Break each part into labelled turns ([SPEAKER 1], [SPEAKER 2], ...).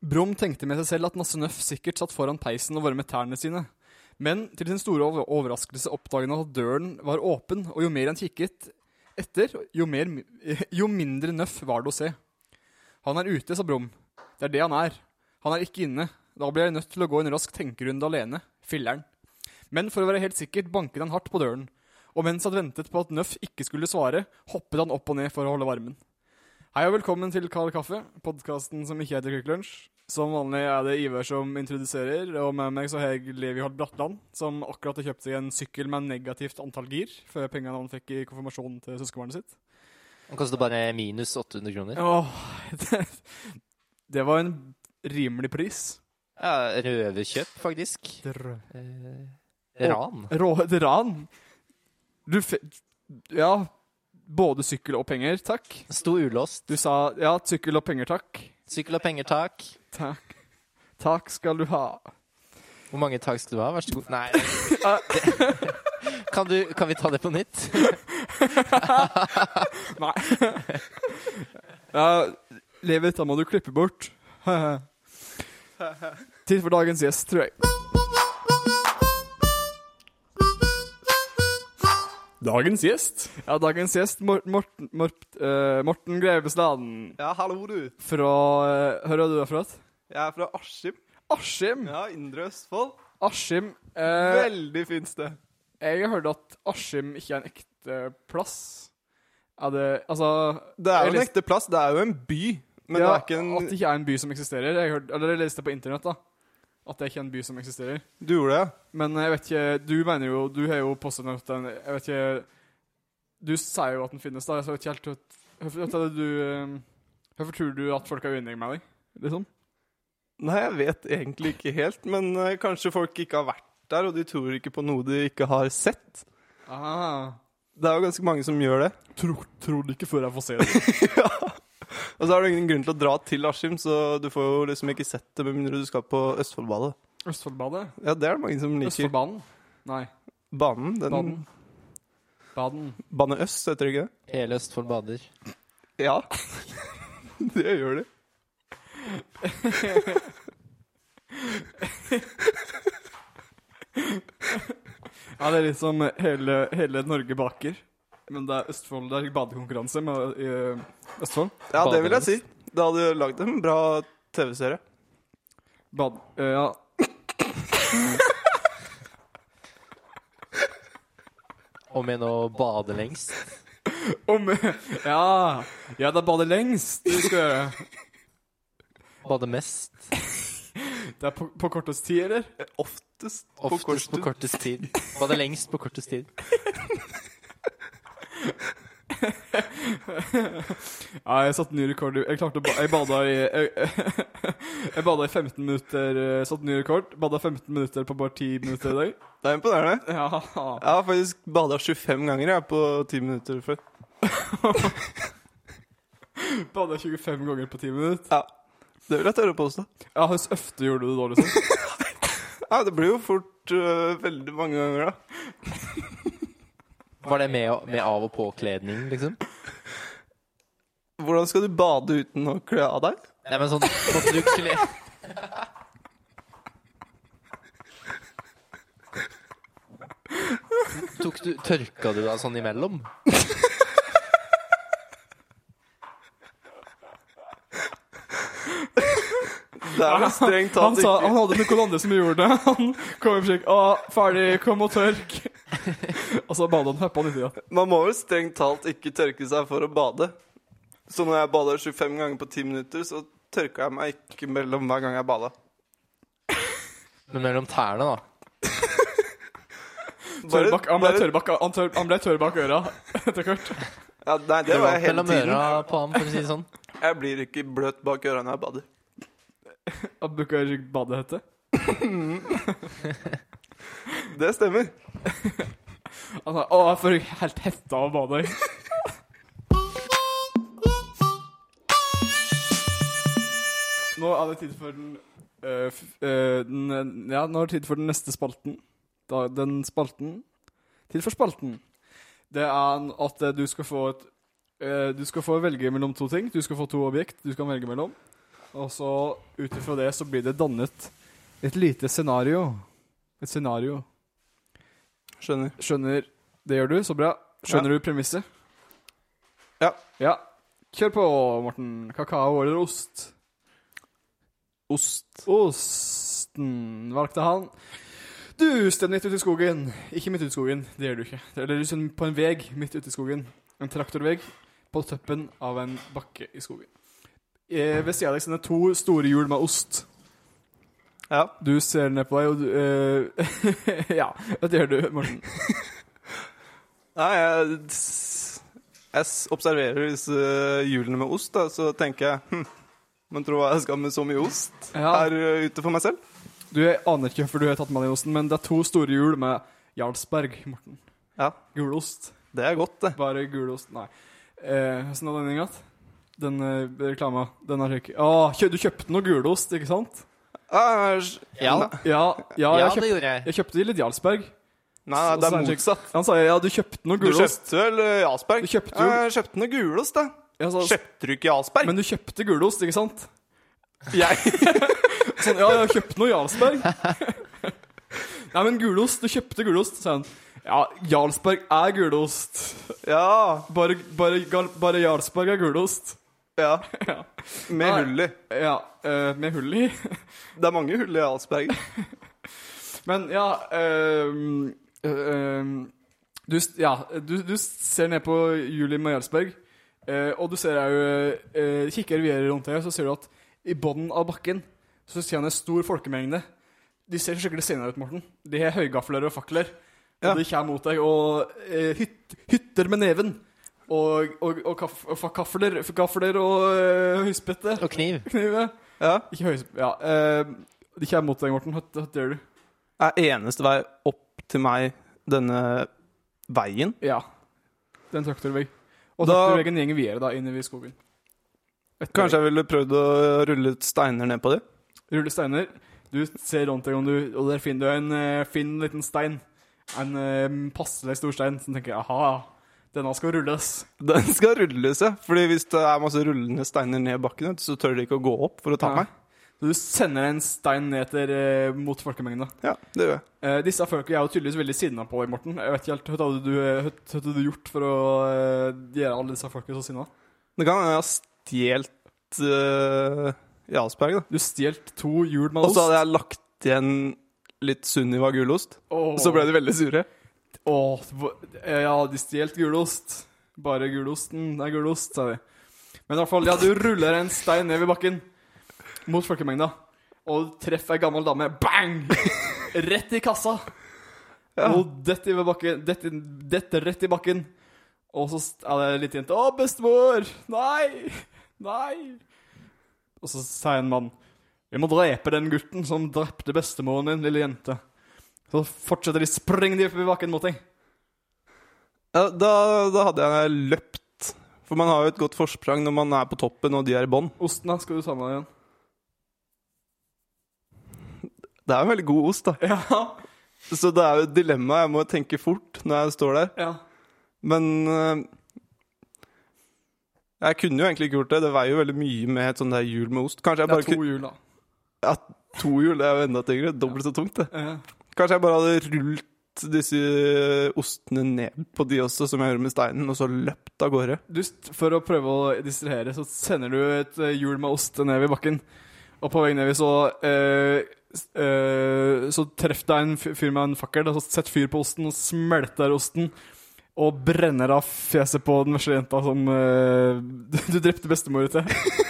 [SPEAKER 1] Brum tenkte med seg selv at Nasse Nøff sikkert satt foran peisen og varmet tærne sine. Men til sin store over- overraskelse oppdaget han at døren var åpen, og jo mer han kikket etter, jo, mer, mi- jo mindre Nøff var det å se. Han er ute, sa Brum. Det er det han er. Han er ikke inne. Da blir jeg nødt til å gå en rask tenkerunde alene. Filler'n. Men for å være helt sikkert banket han hardt på døren, og mens han ventet på at Nøff ikke skulle svare, hoppet han opp og ned for å holde varmen. Hei og velkommen til Kald kaffe, podkasten som ikke heter Kvikk Lunsj. Som vanlig er det Ivar som introduserer, og med meg så har jeg Levi Holt Bratland, som akkurat har kjøpt seg en sykkel med negativt antall gir, før pengene han fikk i konfirmasjonen til søskenbarnet sitt.
[SPEAKER 2] Den koster bare minus 800 kroner.
[SPEAKER 1] Åh, det, det var en rimelig pris.
[SPEAKER 2] Ja, Røverkjøp, faktisk. Eh, ran.
[SPEAKER 1] Rå, et ran. Du fe... Ja, både sykkel og penger, takk.
[SPEAKER 2] Sto ulåst.
[SPEAKER 1] Du sa ja, sykkel og penger, takk.
[SPEAKER 2] Sykkel og penger, tak.
[SPEAKER 1] Takk. Takk skal du ha.
[SPEAKER 2] Hvor mange tak skal du ha? Vær så god. Nei. det- Kan, du, kan vi ta det på nytt?
[SPEAKER 1] Nei. ja, livet, da må du klippe bort. Tid for dagens gjest, tror jeg. Dagens gjest? Ja, dagens gjest, Mor Morten, Mor eh, Morten Grevestaden.
[SPEAKER 3] Ja, hallo, du.
[SPEAKER 1] Fra eh, Hvor er du fra?
[SPEAKER 3] Jeg er fra Askim.
[SPEAKER 1] Askim.
[SPEAKER 3] Ja, Indre Østfold.
[SPEAKER 1] Askim. eh,
[SPEAKER 3] Veldig fint sted.
[SPEAKER 1] jeg har hørt at Askim ikke er en ekte plass. Er det Altså
[SPEAKER 3] Det er
[SPEAKER 1] jeg
[SPEAKER 3] jo en
[SPEAKER 1] leste-
[SPEAKER 3] ekte plass. Det er jo en by. Men
[SPEAKER 1] ja,
[SPEAKER 3] det er ikke
[SPEAKER 1] At det
[SPEAKER 3] en
[SPEAKER 1] ikke er en by som eksisterer. Jeg, hørte, eller jeg leste på internett da at det ikke er en by som eksisterer.
[SPEAKER 3] Du gjorde det?
[SPEAKER 1] Men eh, jeg vet ikke Du mener jo Du har jo påstått at den Jeg vet ikke Du sier jo at den finnes, da. Jeg vet ikke helt at- Hvorfor at er det du eh, Hvorfor tror du at folk er uenige med deg? Liksom?
[SPEAKER 3] Nei, jeg vet egentlig ikke helt. Men eh, kanskje folk ikke har vært der, og de tror ikke på noe de ikke har sett.
[SPEAKER 1] Ah.
[SPEAKER 3] Det er jo ganske mange som gjør det.
[SPEAKER 1] Tror, tror du ikke før jeg får se det?
[SPEAKER 3] Og så har du ingen grunn til å dra til Askim, så du får jo liksom ikke sett det med mindre du skal på Østfoldbadet.
[SPEAKER 1] Østfoldbadet?
[SPEAKER 3] Ja, det er det mange som liker.
[SPEAKER 1] Østfoldbanen? Nei.
[SPEAKER 3] Banen. Den,
[SPEAKER 1] Baden. Baden.
[SPEAKER 3] Bane Øst, heter det ikke det?
[SPEAKER 2] Hele Østfold bader.
[SPEAKER 3] Ja. det gjør de.
[SPEAKER 1] Ja, det er litt som hele, hele Norge baker. Men det er Østfold Det er badekonkurranse med i Østfold.
[SPEAKER 3] Ja, det vil jeg
[SPEAKER 2] Badenes.
[SPEAKER 3] si. Det hadde lagd en bra TV-serie.
[SPEAKER 1] Bad... eh, ja.
[SPEAKER 2] Om igjen å bade lengst.
[SPEAKER 1] Om Ja. Ja, det er bade lengst du skal gjøre.
[SPEAKER 2] Bade mest.
[SPEAKER 1] Det er på, på kortest tid, eller?
[SPEAKER 3] Oftest på
[SPEAKER 2] Oftest på
[SPEAKER 3] kortstid.
[SPEAKER 2] kortest tid. Bade lengst på kortest tid.
[SPEAKER 1] Ja, jeg satte ny rekord i- Jeg klarte å ba... Jeg bada i Jeg, jeg bada i 15 minutter. eh, Satte ny rekord. Bada 15 minutter på bare 10 minutter i dag.
[SPEAKER 3] Det er imponerende.
[SPEAKER 1] Ja.
[SPEAKER 3] Jeg har faktisk bada 25 ganger jeg, på 10 minutter før.
[SPEAKER 1] Bada 25 ganger på 10 minutter.
[SPEAKER 3] Ja, Det vil jeg tørre å påstå.
[SPEAKER 1] Ja, Hvor ofte gjorde du det da, liksom?
[SPEAKER 3] Ja, det blir jo fort øh, veldig mange ganger, da.
[SPEAKER 2] Var det med, å- med av- og påkledning, liksom?
[SPEAKER 3] Hvordan skal du bade uten å kle av deg?
[SPEAKER 2] Nei, men sånn Måtte du kle Tok du, tørka du deg sånn imellom?
[SPEAKER 3] Det er vel strengt
[SPEAKER 1] Han,
[SPEAKER 3] tatt
[SPEAKER 1] sa, han
[SPEAKER 3] ikke
[SPEAKER 1] hadde noen andre som gjorde det. Han kom i forsøk. Å, ferdig, kom og tørk. Og så badet han heppa litt. Ja.
[SPEAKER 3] Man må vel strengt talt ikke tørke seg for å bade. Så når jeg bada 25 ganger på 10 minutter, så tørka jeg meg ikke mellom hver gang jeg bada.
[SPEAKER 2] Men mellom tærne, da.
[SPEAKER 1] Tørrbakk, han, ble tørrbakk, han, tør, han ble tørr bak øra etter hvert.
[SPEAKER 3] ja, Nei, det var jeg hele
[SPEAKER 2] Mellom
[SPEAKER 3] tiden.
[SPEAKER 2] øra på ham, for å si det sånn.
[SPEAKER 3] Jeg blir ikke bløt bak øra når jeg bader.
[SPEAKER 1] Han bruker badehette.
[SPEAKER 3] Det stemmer.
[SPEAKER 1] Han sa å, jeg får helt hetta av å bade i. Nå er det tid for den, eh, f- eh, den eh, Ja, nå er det tid for den neste spalten. Da, den spalten Tid for spalten. Det er en- at eh, du skal få et eh, Du skal få velge mellom to ting. Du skal få to objekt du skal velge mellom. Og så ut ifra det så blir det dannet et lite scenario. Et scenario.
[SPEAKER 3] Skjønner.
[SPEAKER 1] Skjønner Det gjør du, så bra. Skjønner du premisset?
[SPEAKER 3] Ja.
[SPEAKER 1] Ja. Kjør på, Morten. Kakao eller ost?
[SPEAKER 3] Ost.
[SPEAKER 1] Osten valgte han. Du stem midt ute i skogen. Ikke midt ute i skogen, det gjør du ikke. Eller du stemmer på en veg midt ute i skogen. En traktorveg på toppen av en bakke i skogen. Eh, ved siden av deg sender to store hjul med ost.
[SPEAKER 3] Ja.
[SPEAKER 1] Du ser ned på deg, og du eh, Ja, det gjør du, Morten.
[SPEAKER 3] Nei, jeg, s- jeg s- observerer disse hjulene med ost, da, så tenker jeg hm, Men tro hva jeg skal med så mye ost
[SPEAKER 1] Ja.
[SPEAKER 3] her ø, ute for meg selv?
[SPEAKER 1] Du jeg aner ikke hvorfor du har tatt med deg osten, men det er to store hjul med Jarlsberg, Morten.
[SPEAKER 3] Ja.
[SPEAKER 1] Gulost.
[SPEAKER 3] Det er godt, det.
[SPEAKER 1] Bare gulost. Nei. Eh, Hvordan hadde den gått? Den eh, reklama. Den har jeg ikke Å, kjø, du kjøpte noe gulost, ikke sant?
[SPEAKER 3] Ah, s-
[SPEAKER 2] Ja,
[SPEAKER 3] Nei,
[SPEAKER 1] Ja, ja,
[SPEAKER 2] ja
[SPEAKER 1] jeg,
[SPEAKER 2] det
[SPEAKER 1] kjøpte,
[SPEAKER 2] gjorde jeg.
[SPEAKER 1] jeg kjøpte litt Jarlsberg.
[SPEAKER 3] nei, det er motsatt.
[SPEAKER 1] Han sa ja, du kjøpte noe
[SPEAKER 3] Du
[SPEAKER 1] gulost.
[SPEAKER 3] kjøpte vel ø, Jarlsberg?
[SPEAKER 1] Du kjøpte jo-
[SPEAKER 3] Ja, jeg kjøpte noe gulost, da.
[SPEAKER 1] Jeg sa,
[SPEAKER 3] Kjøpte du ikke Jarlsberg?
[SPEAKER 1] men du kjøpte gulost, ikke sant?
[SPEAKER 3] Jeg
[SPEAKER 1] Sånn, ja, jeg har kjøpt noe Jarlsberg. Nei, men gulost. Du kjøpte gulost, sa han. Ja, Jarlsberg er gulost.
[SPEAKER 3] Ja.
[SPEAKER 1] Bare, bare, gal- bare Jarlsberg er gulost.
[SPEAKER 3] ja.
[SPEAKER 1] Ja.
[SPEAKER 3] Med
[SPEAKER 1] Nei.
[SPEAKER 3] hull i.
[SPEAKER 1] ja eh, med hull i.
[SPEAKER 3] Det er mange hull i Jarlsberg.
[SPEAKER 1] Men ja ehm, ehm, du, s- ja, du, du ser ned på Julie med Jarlsberg, eh, og du ser òg uh, Kikker videre rundt deg, og så ser du at i bunnen av bakken så ser han en stor folkemengde. De ser skikkelig senere ut, Morten. De har høygafler og fakler.
[SPEAKER 3] Ja.
[SPEAKER 1] Og de kommer mot deg, og eh, hytt, hytter med neven. Og, og, og, kaff, og fa- kafler, kafler og eh, høyspette.
[SPEAKER 2] Og kniv.
[SPEAKER 1] Knive.
[SPEAKER 3] Ja.
[SPEAKER 1] Ikke høyspette Ja. eh, de kommer mot deg, Morten. Hva hva gjør du?
[SPEAKER 3] Er eneste vei opp til meg denne veien?
[SPEAKER 1] Ja. Det er en traktorvegg. Og
[SPEAKER 3] Da-
[SPEAKER 1] traktorveggen gjenger videre da, inne i skogen. eh, Etter
[SPEAKER 3] Kanskje jeg ville prøvd å rulle ut steiner ned på dem?
[SPEAKER 1] Rulle steiner. Du ser rundt deg, om du, og der finner du en eh, fin liten stein. En eh, passelig stor stein som tenker aha, denne skal rulles.
[SPEAKER 3] Den skal rulles, ja. Fordi hvis det er masse rullende steiner ned bakken, vet du, så tør de ikke å gå opp for å ta
[SPEAKER 1] Ja.
[SPEAKER 3] meg.
[SPEAKER 1] Så du sender en stein ned til, eh, mot folkemengda.
[SPEAKER 3] Ja, det gjør jeg.
[SPEAKER 1] Eh, disse folka er jo tydeligvis veldig sinna på deg, Morten. Jeg vet ikke helt, Hva hadde du, eh, hva hadde du gjort for å eh, gjøre alle disse folka så sinna?
[SPEAKER 3] Det kan hende jeg har stjålet øh, Jarlsberg, da.
[SPEAKER 1] Du stjal to hjul med
[SPEAKER 3] Og
[SPEAKER 1] ost.
[SPEAKER 3] så hadde jeg lagt igjen litt Sunniva gulost.
[SPEAKER 1] Åh.
[SPEAKER 3] Så ble de veldig sure.
[SPEAKER 1] Åh, hva- ja, de stjelt gulost. Bare gulosten det er gulost, sa de. Men i hvert fall, ja, du ruller en stein ned ved bakken mot folkemengda, og treffer ei gammel dame. Bang! Rett i kassa. Og detter ved bakken. Detter detter rett i bakken. Og så st- er det litt jente. Å, bestemor! Nei! Nei! Og så sier en mann. Vi må drepe den gutten som drepte bestemoren din, lille jente. Så fortsetter de spreng de oppover bakken mot deg.
[SPEAKER 3] Ja, da, da hadde jeg løpt. For man har jo et godt forsprang når man er på toppen og de er i bånn.
[SPEAKER 1] Osten da, skal du ta med deg igjen.
[SPEAKER 3] Det er en veldig god ost, da.
[SPEAKER 1] Ja,
[SPEAKER 3] Så det er jo et dilemma. Jeg må tenke fort når jeg står der.
[SPEAKER 1] ja.
[SPEAKER 3] Men øh, Jeg kunne jo egentlig ikke gjort det. Det veier jo veldig mye med et sånt der hjul med ost. Kanskje jeg
[SPEAKER 1] Det
[SPEAKER 3] bare
[SPEAKER 1] er to hjul da.
[SPEAKER 3] Ja, to hjul er jo enda tyngre. Dobbelt så tungt, det.
[SPEAKER 1] Eh,
[SPEAKER 3] Kanskje jeg bare hadde rullet disse ostene ned på de også, som jeg gjorde med steinen, og så løpt av gårde.
[SPEAKER 1] Du, st- for å prøve å distrahere, så sender du et eh, hjul med ost ned i bakken. Og på vei ned så eh, s- eh, Så treff deg en f- fyr med en fakkel, og så sett fyr på osten, og smelter osten. Og brenner av fjeset på den vesle jenta som eh, du, du drepte bestemora til.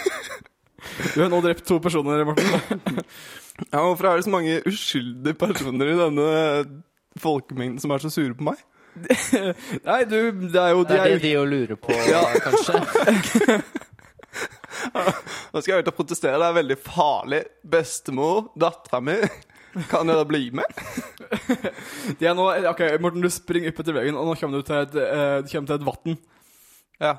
[SPEAKER 1] Du har nå drept to personer, Morten.
[SPEAKER 3] Ja, Hvorfor er det så mange uskyldige personer i denne folkemengden som er så sure på meg?
[SPEAKER 1] Nei, du, det er jo
[SPEAKER 2] Det
[SPEAKER 1] de
[SPEAKER 2] er
[SPEAKER 1] er
[SPEAKER 2] det
[SPEAKER 1] jo
[SPEAKER 2] de jo lurer på, kanskje.
[SPEAKER 3] Nå skal jeg ut og protestere. Det er veldig farlig. Bestemor, dattera mi Kan jeg da bli med?
[SPEAKER 1] Det er nå, ok, Morten, du springer opp etter veggen, og nå kommer du til et, eh, du kommer til et vatten.
[SPEAKER 3] Ja.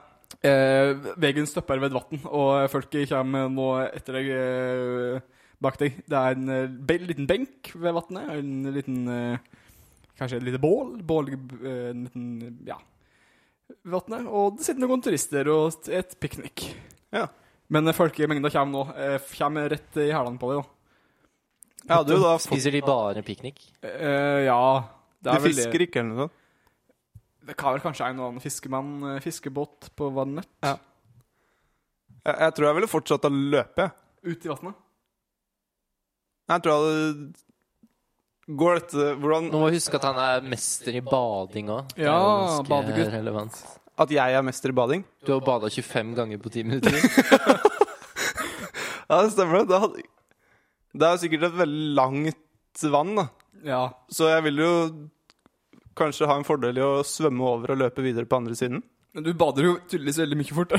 [SPEAKER 1] Eh, veggen stopper ved et vatten, og folket kommer nå etter deg, eh, bak deg. Det er en eh, be liten benk ved vattnet, og en liten, eh, kanskje et lite bål, bål, eh, en liten, ja, ved vattnet. Og det sitter noen turister og et piknik.
[SPEAKER 3] Ja.
[SPEAKER 1] Men eh, folkemengda kommer nå. eh, Kommer rett i hælene på deg, da.
[SPEAKER 3] Jeg hadde jo da fått
[SPEAKER 2] Spiser de bare piknik?
[SPEAKER 1] Eh, ja det
[SPEAKER 3] De
[SPEAKER 1] er vel det.
[SPEAKER 3] fisker ikke eller noe sånt.
[SPEAKER 1] Det kan vel kanskje en og annen fiskemann, eh, fiskebåt på vannet.
[SPEAKER 3] Jeg, jeg tror jeg ville fortsatt å løpe. jeg.
[SPEAKER 1] Ut i vannet.
[SPEAKER 3] Jeg tror jeg hadde Går dette Hvordan
[SPEAKER 2] Nå må vi huske at han er mester i bading òg.
[SPEAKER 1] Ja, badegutt.
[SPEAKER 2] Relevant.
[SPEAKER 3] At jeg er mester i bading?
[SPEAKER 2] Du har bada 25 ganger på 10 minutter.
[SPEAKER 3] Ja, det stemmer det. Da hadde... Det er jo sikkert et veldig langt vann, da.
[SPEAKER 1] Ja.
[SPEAKER 3] Så jeg vil jo kanskje ha en fordel i å svømme over og løpe videre på andre siden.
[SPEAKER 1] Men du bader jo tydeligvis veldig mye fort.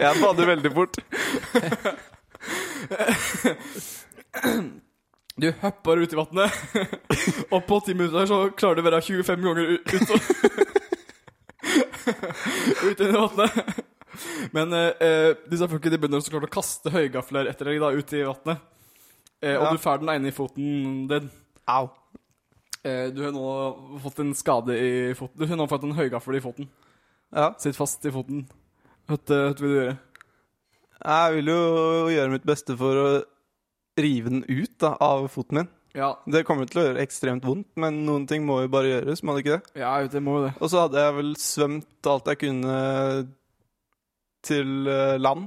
[SPEAKER 3] Jeg bader veldig fort.
[SPEAKER 1] Du hopper ut i vannet, og på ti minutter så klarer du å være 25 ganger u- ut Ut i vannet. Men eh, eh, disse folka de begynner så klart å kaste høygafler etter deg da, ut i vannet. Eh, og
[SPEAKER 3] Ja.
[SPEAKER 1] du får den ene i foten din.
[SPEAKER 3] Au.
[SPEAKER 1] Eh, du har nå fått en skade i foten. Du har nå fått en høygaffel i foten.
[SPEAKER 3] Ja.
[SPEAKER 1] Sitt fast i foten. Hva hva vil du gjøre?
[SPEAKER 3] Jeg vil jo gjøre mitt beste for å rive den ut da, av foten min.
[SPEAKER 1] Ja,
[SPEAKER 3] Det kommer til å gjøre ekstremt vondt, men noen ting må jo bare gjøres. må det ikke det?
[SPEAKER 1] ja jeg vet, jeg må jo det.
[SPEAKER 3] Og så hadde jeg vel svømt alt jeg kunne til eh, land.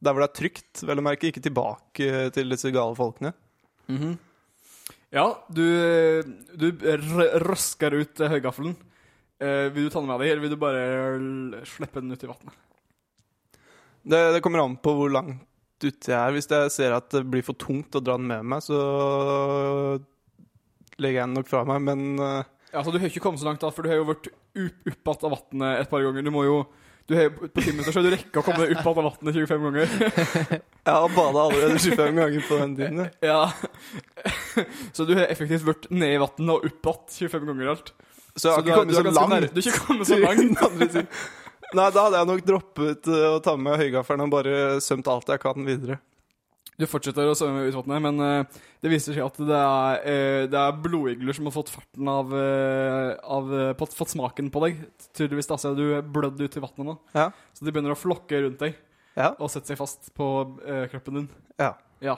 [SPEAKER 3] Der hvor det er trygt, vel å merke. Ikke tilbake eh, til disse gale folkene.
[SPEAKER 1] Mhm. Ja, du, du r- røsker ut eh, høygaffelen. Eh, vil du ta den med deg, eller vil du bare l- slippe den ut i vannet?
[SPEAKER 3] Det, det kommer an på hvor langt ute jeg er. Hvis jeg ser at det blir for tungt å dra den med meg, så legger jeg den nok fra meg. Men eh,
[SPEAKER 1] Ja, altså, du har ikke kommet så langt, da, for du har jo vært opp opp att av vannet et par ganger. Du må jo du har, jo- På ti minutter så har du rekka å komme opp att av vannet 25 ganger.
[SPEAKER 3] jeg har bada allerede 25 ganger på den tiden. jeg.
[SPEAKER 1] Ja. Så du har effektivt vært ned i vannet og opp att 25 ganger alt.
[SPEAKER 3] Så jeg har
[SPEAKER 1] du
[SPEAKER 3] ikke
[SPEAKER 1] er- du
[SPEAKER 3] kommet
[SPEAKER 1] er
[SPEAKER 3] så
[SPEAKER 1] ganske
[SPEAKER 3] langt.
[SPEAKER 1] nær- Du har ikke kommet så langt.
[SPEAKER 3] Nei, da hadde jeg nok droppet eh, å ta med høygaffelen og bare svømt alt jeg kan videre.
[SPEAKER 1] Du fortsetter å svømme ut i vannet, men eh, det viser seg at det er, eh, det er blodigler som har fått farten av, eh, av eh, fått, fått smaken på deg. Tydeligvis da, så du blødd ut i vannet nå.
[SPEAKER 3] Ja.
[SPEAKER 1] Så de begynner å flokke rundt deg
[SPEAKER 3] Ja.
[SPEAKER 1] og sette seg fast på eh, kroppen din.
[SPEAKER 3] Ja.
[SPEAKER 1] Ja.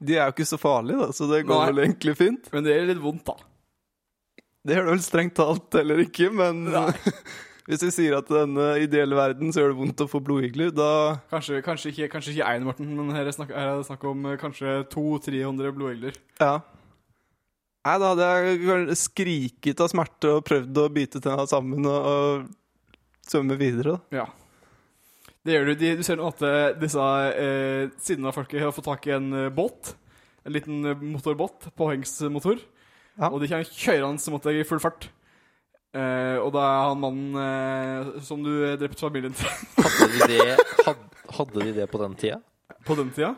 [SPEAKER 3] De er jo ikke så farlige, da, så det går
[SPEAKER 1] Nei.
[SPEAKER 3] vel egentlig fint.
[SPEAKER 1] Men det gjør litt vondt, da.
[SPEAKER 3] Det gjør det vel strengt talt heller ikke, men
[SPEAKER 1] Nei.
[SPEAKER 3] hvis vi sier at i denne ideelle verden så gjør det vondt å få blodigler, da
[SPEAKER 1] Kanskje, kanskje ikke kanskje ikke én, Morten, men her er det snakk, her er det snakk om eh, kanskje 200-300 blodigler.
[SPEAKER 3] Ja. Nei, da hadde jeg kanskje skriket av smerte og prøvd å bite tenna sammen og, og svømme videre. da.
[SPEAKER 1] Ja. Det gjør du. De, du ser nå at eh, disse eh, siden av folket har fått tak i en eh, båt. En liten eh, motorbåt. Påhengsmotor.
[SPEAKER 3] Ja.
[SPEAKER 1] Og de kommer kjørende mot deg i full fart. Eh, og da er han mannen eh, som du drepte familien til
[SPEAKER 2] Hadde de det, had, hadde de det på den tida?
[SPEAKER 1] på den tida.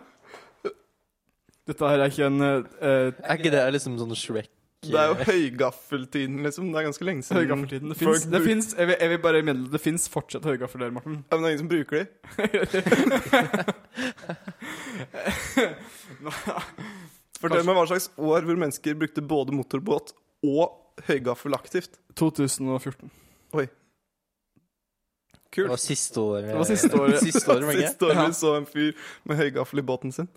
[SPEAKER 1] Dette her er ikke en eh, eh,
[SPEAKER 2] Er ikke det liksom sånn Shrek eh,
[SPEAKER 3] Det er jo høygaffeltiden, liksom. Det er ganske lenge siden.
[SPEAKER 1] høygaffeltiden. Det
[SPEAKER 3] Folk
[SPEAKER 1] fins, det
[SPEAKER 3] bru-
[SPEAKER 1] fins, jeg, vil, jeg vil bare meddele det fins fortsatt høygaffel der, Morten.
[SPEAKER 3] Ja, men det er ingen som bruker de. Fortell meg hva slags år hvor mennesker brukte både motorbåt og høygaffel aktivt.
[SPEAKER 1] 2014.
[SPEAKER 2] Det var siste året.
[SPEAKER 1] Det var siste året.
[SPEAKER 2] Siste året, mange.
[SPEAKER 3] Siste år
[SPEAKER 1] Ja.
[SPEAKER 3] vi så en fyr med høygaffel i båten sin.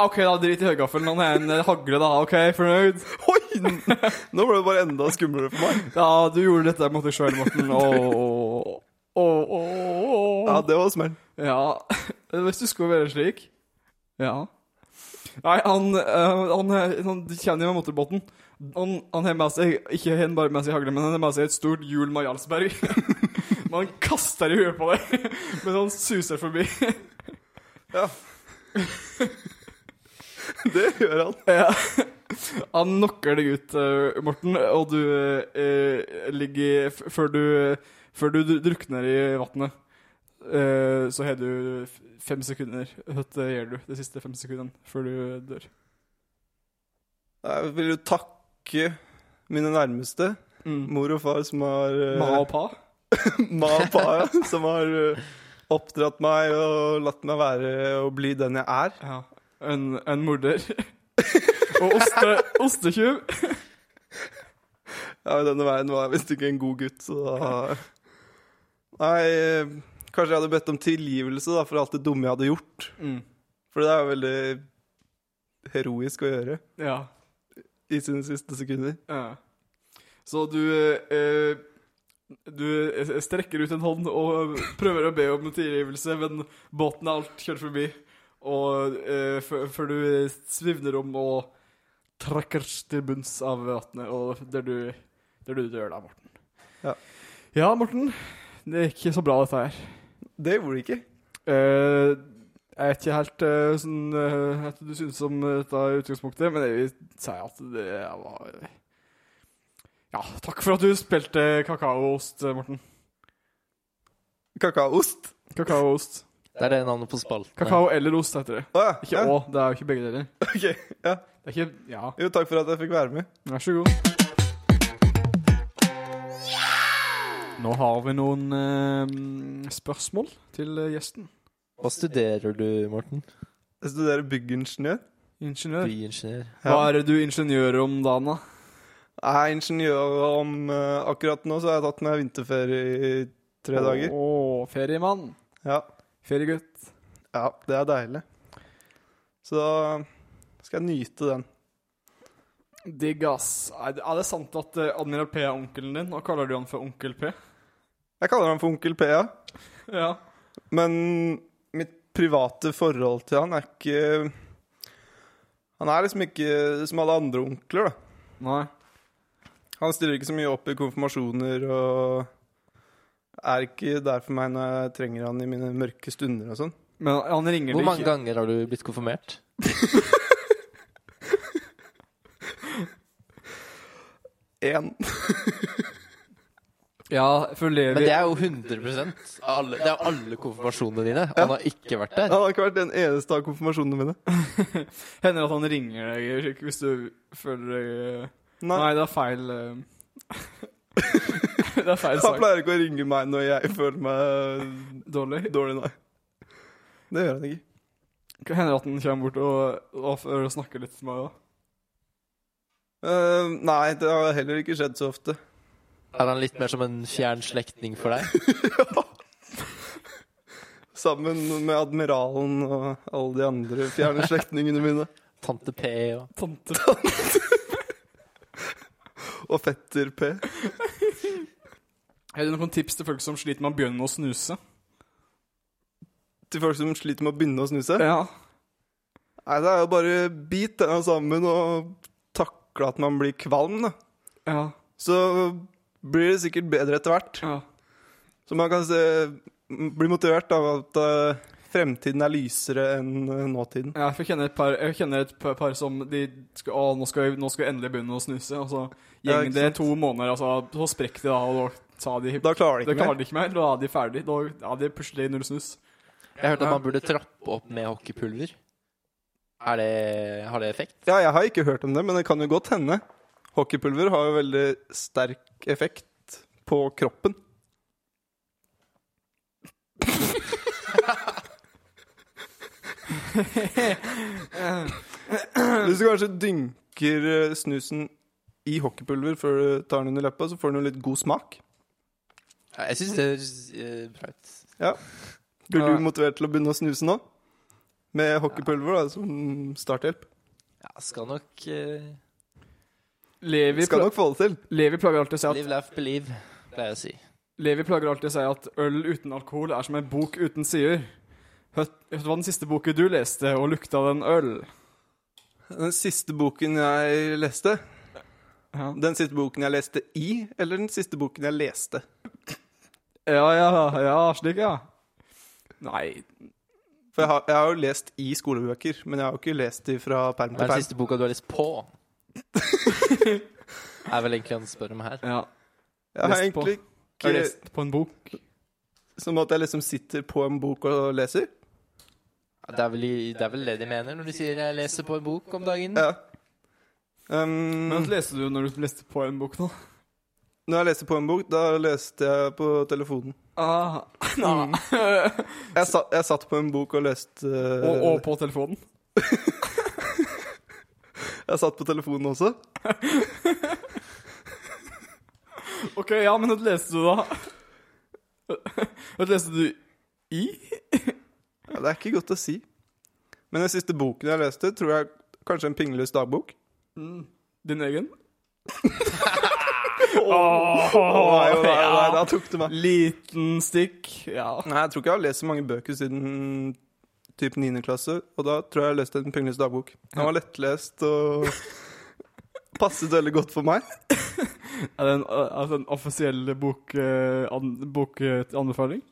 [SPEAKER 1] OK, da drit i høygaffelen. Han er en eh, hagle, da. OK, fornøyd?
[SPEAKER 3] Oi! Nå ble det bare enda skumlere for meg.
[SPEAKER 1] Ja, du gjorde dette mot deg sjøl, Morten. Åh, åh, åh.
[SPEAKER 3] Ja, det var smell.
[SPEAKER 1] Ja, hvis du skulle være slik. Ja. Nei, han, eh, han, han kjenner jo motorbåten. Han, han har med seg ikke han bare med seg hagle, men han har med seg et stort hjul med Jarlsberg. Men han kaster i huet på deg mens han suser forbi.
[SPEAKER 3] Det gjør han.
[SPEAKER 1] Ja. Han knocker deg ut, eh, Morten, og du eh, ligger f Før du, før du dru- drukner i vannet, eh, så har du f- fem sekunder. Hva gjør du de siste fem sekundene før du dør?
[SPEAKER 3] Jeg vil jo takke mine nærmeste.
[SPEAKER 1] Mm.
[SPEAKER 3] Mor og far som har eh,
[SPEAKER 1] Ma og pa?
[SPEAKER 3] Ma og pa, ja. Som har eh, oppdratt meg og latt meg være og bli den jeg er.
[SPEAKER 1] Ja. En, en morder. og oste, ostetjuv.
[SPEAKER 3] Ja, i denne veien var jeg visst ikke en god gutt, så da Nei, eh, kanskje jeg hadde bedt om tilgivelse da, for alt det dumme jeg hadde gjort.
[SPEAKER 1] Mm.
[SPEAKER 3] For det er jo veldig heroisk å gjøre
[SPEAKER 1] Ja.
[SPEAKER 3] i sine siste sekunder.
[SPEAKER 1] Ja. Så du eh, Du eh, strekker ut en hånd og prøver å be om tilgivelse, men båten er alt kjørt forbi. Og eh, før før du svivner om og trakker til bunns av vannet, og der du, der du dør da, Morten.
[SPEAKER 3] Ja.
[SPEAKER 1] ja, Morten. Det gikk så bra, dette her.
[SPEAKER 3] Det gjorde det ikke.
[SPEAKER 1] Eh, jeg vet ikke helt eh, sånn, eh, hva du synes om dette i utgangspunktet, men jeg vil si at det var eh, Ja, takk for at du spilte kakaoost, eh, Morten.
[SPEAKER 3] Kakaoost.
[SPEAKER 1] Kakaoost.
[SPEAKER 2] Det er det navnet på spalten.
[SPEAKER 1] Kakao eller ost heter det.
[SPEAKER 3] Å ja.
[SPEAKER 1] Ikke
[SPEAKER 3] ja.
[SPEAKER 1] å, det er jo ikke begge deler.
[SPEAKER 3] ok, ja.
[SPEAKER 1] Det er ikke Ja,
[SPEAKER 3] Jo, takk for at jeg fikk være med.
[SPEAKER 1] vær så god. Nå har vi noen eh, spørsmål til eh, gjesten.
[SPEAKER 2] Hva studerer du, Morten?
[SPEAKER 3] Jeg studerer byggingeniør.
[SPEAKER 1] Ingeniør.
[SPEAKER 2] Byingeniør.
[SPEAKER 1] Hva er det du ingeniører om dagen, da?
[SPEAKER 3] Jeg er ingeniør om eh, Akkurat nå så har jeg tatt meg vinterferie i tre dager.
[SPEAKER 1] Å, feriemann.
[SPEAKER 3] Ja.
[SPEAKER 1] Feriegutt.
[SPEAKER 3] ja, det er deilig. Så da skal jeg nyte den.
[SPEAKER 1] Digg, ass. Er det, er det sant at eh, Admiral P er onkelen din? Og kaller du han for Onkel P?
[SPEAKER 3] Jeg kaller han for Onkel P, ja.
[SPEAKER 1] Ja.
[SPEAKER 3] Men mitt private forhold til han er ikke Han er liksom ikke som alle andre onkler, da.
[SPEAKER 1] Nei.
[SPEAKER 3] Han stiller ikke så mye opp i konfirmasjoner og er ikke der for meg når jeg trenger han i mine mørke stunder og sånn.
[SPEAKER 1] Men han ringer
[SPEAKER 2] Hvor
[SPEAKER 1] deg
[SPEAKER 2] mange
[SPEAKER 1] ikke.
[SPEAKER 2] ganger har du blitt konfirmert?
[SPEAKER 3] Én.
[SPEAKER 1] Ja, følger
[SPEAKER 2] Men
[SPEAKER 1] vi
[SPEAKER 2] det er jo 100 av alle, Det er jo alle konfirmasjonene dine. Han har ikke vært der.
[SPEAKER 3] Han har ikke vært den eneste av konfirmasjonene mine.
[SPEAKER 1] Hender at han ringer deg ikke, hvis du føler deg eh,
[SPEAKER 3] Nei,
[SPEAKER 1] Nei, det er feil eh. Det er feil
[SPEAKER 3] Han
[SPEAKER 1] sagt.
[SPEAKER 3] pleier ikke å ringe meg når jeg føler meg
[SPEAKER 1] Dårlig.
[SPEAKER 3] dårlig, nei. Det gjør han ikke.
[SPEAKER 1] Hender at han kommer bort og, og, og snakker litt med meg òg.
[SPEAKER 3] Eh, nei, det har heller ikke skjedd så ofte.
[SPEAKER 2] Er han litt mer som en fjern slektning for deg?
[SPEAKER 3] Sammen med admiralen og alle de andre fjerne slektningene mine.
[SPEAKER 2] Tante P og
[SPEAKER 1] Tante.
[SPEAKER 3] Og fetter P.
[SPEAKER 1] Har du noen tips til folk som sliter med å begynne å snuse?
[SPEAKER 3] Til folk som sliter med å begynne å snuse.
[SPEAKER 1] Ja.
[SPEAKER 3] Nei, det er jo bare bit denne sammen og takle at man blir kvalm, da.
[SPEAKER 1] Ja.
[SPEAKER 3] Så blir det sikkert bedre etter hvert.
[SPEAKER 1] ja.
[SPEAKER 3] Så man kan se, bli motivert av at eh, fremtiden er lysere enn eh, nåtiden.
[SPEAKER 1] Ja, for jeg kjenner et par, jeg kjenner et par, par som de skal, å, nå, skal, nå skal jeg endelig begynne å snuse. Og så
[SPEAKER 3] Ja,
[SPEAKER 1] gjeng
[SPEAKER 3] ikke
[SPEAKER 1] det to måneder, altså, så sprekker de da, og da sa de
[SPEAKER 3] Da klarer de
[SPEAKER 1] Det
[SPEAKER 3] ikke
[SPEAKER 1] klarer
[SPEAKER 3] mer.
[SPEAKER 1] de ikke mer. Da er de ferdig. Da ja, de er plutselig null snus.
[SPEAKER 2] Jeg hørte at man burde trappe opp med hockeypulver. Er det, har det effekt?
[SPEAKER 3] Ja, jeg har ikke hørt om det, men det kan jo godt hende. Hockeypulver har jo veldig sterk effekt på kroppen. Hvis du kanskje dynker eh, snusen i hockeypulver før du tar den under leppa, så får den jo litt god smak.
[SPEAKER 2] Ja, Jeg syns det høres eh, bra ut.
[SPEAKER 3] Blir
[SPEAKER 1] Ja.
[SPEAKER 3] du motivert til å begynne å snuse nå? Med hockeypulver da, som starthjelp.
[SPEAKER 2] Ja, skal nok eh,
[SPEAKER 1] Levi,
[SPEAKER 3] Skal
[SPEAKER 1] pla
[SPEAKER 3] nok få det til.
[SPEAKER 1] Levi plager alltid å si at
[SPEAKER 2] Live, laugh, believe, pleier jeg å si.
[SPEAKER 1] Levi plager alltid å si at øl uten alkohol er som en bok uten sider. Hørt, det var den siste boken du leste, og lukta den øl.
[SPEAKER 3] Den siste boken jeg leste
[SPEAKER 1] Ja,
[SPEAKER 3] Den siste boken jeg leste i, eller den siste boken jeg leste?
[SPEAKER 1] ja, ja, ja slik, ja. Nei
[SPEAKER 3] For jeg har, jeg har jo lest i skolebøker, men jeg har jo ikke lest de fra perm
[SPEAKER 2] Hva
[SPEAKER 3] til
[SPEAKER 2] er den
[SPEAKER 3] perm.
[SPEAKER 2] siste boka du har lest på? er vel egentlig han spør om her.
[SPEAKER 1] Ja.
[SPEAKER 3] Jeg har
[SPEAKER 1] lest på?
[SPEAKER 3] egentlig
[SPEAKER 1] Jeg
[SPEAKER 3] ikke
[SPEAKER 1] leste på en bok.
[SPEAKER 3] Som at jeg liksom sitter på en bok og leser.
[SPEAKER 2] Det er, vel, i- det er vel det de mener når de sier 'jeg leser på en bok om
[SPEAKER 1] Mm.
[SPEAKER 2] dagen'?
[SPEAKER 3] Ja. Um,
[SPEAKER 1] Men leste du når du leste på en bok nå?
[SPEAKER 3] når jeg leste på en bok, da leste jeg på telefonen.
[SPEAKER 1] Ah, nei.
[SPEAKER 3] Jeg, sa, jeg satt på en bok og leste
[SPEAKER 1] og, og på telefonen.
[SPEAKER 3] Jeg satt på telefonen også.
[SPEAKER 1] OK, ja, men hva leste du da? Hva leste du i?
[SPEAKER 3] Ja, det er ikke godt å si. Men den siste boken jeg leste, tror jeg kanskje en pingløs dagbok.
[SPEAKER 1] Din egen?
[SPEAKER 3] nei, nei, nei, da tok du meg.
[SPEAKER 1] Liten stikk. Ja.
[SPEAKER 3] Nei, jeg tror ikke jeg har lest så mange bøker siden typ 9. klasse, og da tror jeg jeg leste en pingløs dagbok. Den var lettlest og passet veldig godt for meg.
[SPEAKER 1] Er det en, er det en offisiell bok, eh, an, bokanbefaling?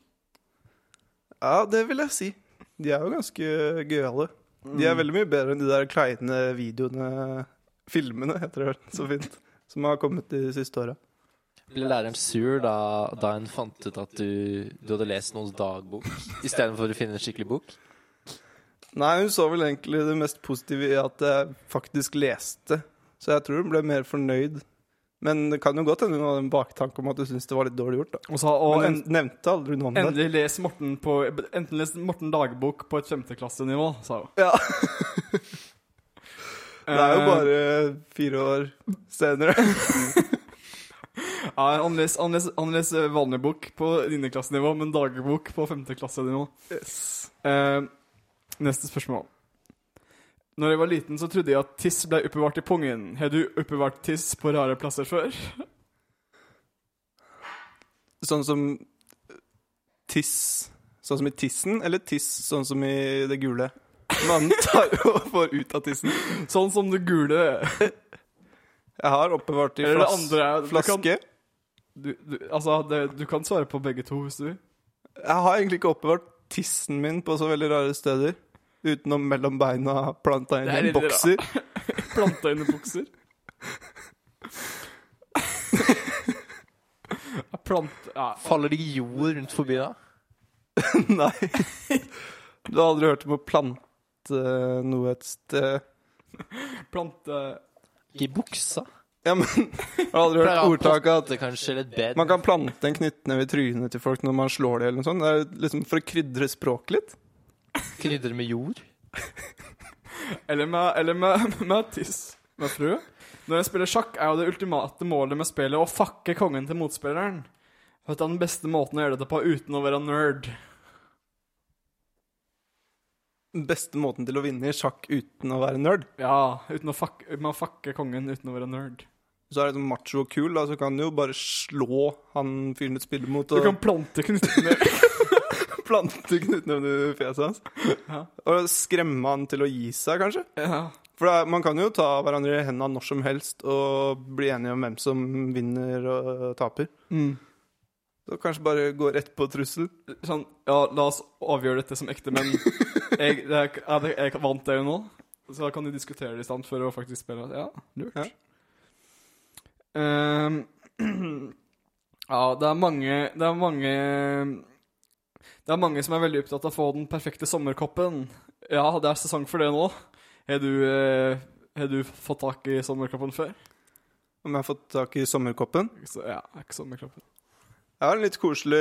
[SPEAKER 3] Ja, det vil jeg si. De er jo ganske gøyale. De er veldig mye bedre enn de der kleine videoene Filmene, heter det vel så fint. Som har kommet de siste åra.
[SPEAKER 2] Ble læreren sur da, da hun fant ut at du, du hadde lest noens dagbok istedenfor å finne en skikkelig bok?
[SPEAKER 3] Nei, hun så vel egentlig det mest positive i at jeg faktisk leste. Så jeg tror hun ble mer fornøyd. Men det kan jo godt hende hun hadde en baktanke om at hun syntes det var litt dårlig gjort. da.
[SPEAKER 1] Og så, og
[SPEAKER 3] Men
[SPEAKER 1] en,
[SPEAKER 3] hun nevnte aldri noe om det.
[SPEAKER 1] endelig les Morten på Enten les Morten dagbok på et femteklassenivå, sa hun.
[SPEAKER 3] Ja, Det er jo
[SPEAKER 1] Eh,
[SPEAKER 3] bare fire år senere.
[SPEAKER 1] Ja, han leser, han leser, han leser vanlig bok på niendeklassenivå, men dagbok på femteklassenivå. Eh, neste spørsmål. Når jeg var liten, så trodde jeg at tiss ble oppbevart i pungen. Har du oppbevart tiss på rare plasser før?
[SPEAKER 3] Sånn som tiss. Sånn som i tissen, eller tiss sånn som i det gule? Man tar og får ut av tissen.
[SPEAKER 1] Sånn som det gule
[SPEAKER 3] Jeg har oppbevart i
[SPEAKER 1] Eller det
[SPEAKER 3] flas
[SPEAKER 1] andre er- du kan-
[SPEAKER 3] flaske.
[SPEAKER 1] du, du, Altså, det, du kan svare på begge to hvis du vil.
[SPEAKER 3] Jeg har egentlig ikke oppbevart tissen min på så veldig rare steder. Utenom mellom beina, planta inn
[SPEAKER 1] Det er
[SPEAKER 3] i en
[SPEAKER 1] litt rart.
[SPEAKER 3] bokser.
[SPEAKER 1] Planta inn i bukser. Ja, Plant... Ja.
[SPEAKER 2] Faller det ikke jord rundt forbi da?
[SPEAKER 3] Nei. Du har aldri hørt om å plante eh, noe et sted?
[SPEAKER 1] Plante
[SPEAKER 2] Ikke i buksa?
[SPEAKER 3] Ja, men Jeg har aldri hørt ordtaket at
[SPEAKER 2] Det kanskje eller et bed?
[SPEAKER 3] man kan plante en knyttneve i trynet til folk når man slår dem, eller noe sånt. Det er liksom for å krydre språket litt.
[SPEAKER 2] Krydre med jord?
[SPEAKER 1] Eller med, eller med, med tiss. Med frue. Når jeg spiller sjakk, er jo det ultimate målet med spillet å fucke kongen til motspilleren. Dette er den beste måten å gjøre dette på uten å være nerd.
[SPEAKER 3] Den beste måten til å vinne i sjakk uten å være nerd.
[SPEAKER 1] Ja, uten å fuck, med å fucke kongen uten å være nerd.
[SPEAKER 3] Så er det sånn macho og kul, da, så kan du jo bare slå han fyren du spiller mot.
[SPEAKER 1] Du
[SPEAKER 3] Og
[SPEAKER 1] kan plante knyttene
[SPEAKER 3] plante knyttneven i fjeset hans.
[SPEAKER 1] Ja.
[SPEAKER 3] Og skremme han til å gi seg, kanskje.
[SPEAKER 1] ja.
[SPEAKER 3] For det er, man kan jo ta hverandre i hendene når som helst og bli enige om hvem som vinner og taper.
[SPEAKER 1] Mm.
[SPEAKER 3] Så kanskje bare gå rett på trussel.
[SPEAKER 1] Sånn, ja, la oss avgjøre dette som ekte menn. Jeg, det er- er det- jeg vant det jo nå, så da kan de diskutere det i stand for å faktisk spille. Ja, lurt.
[SPEAKER 3] Ja.
[SPEAKER 1] Ehm, ja, det er mange Det er mange Det er mange som er veldig opptatt av å få den perfekte sommerkoppen. Ja, det er sesong for det nå. Har du, eh, har du fått tak i sommerkoppen før?
[SPEAKER 3] Om jeg har fått tak i sommerkoppen.
[SPEAKER 1] Så, ja, er ikke sommerkoppen.
[SPEAKER 3] Jeg har en litt koselig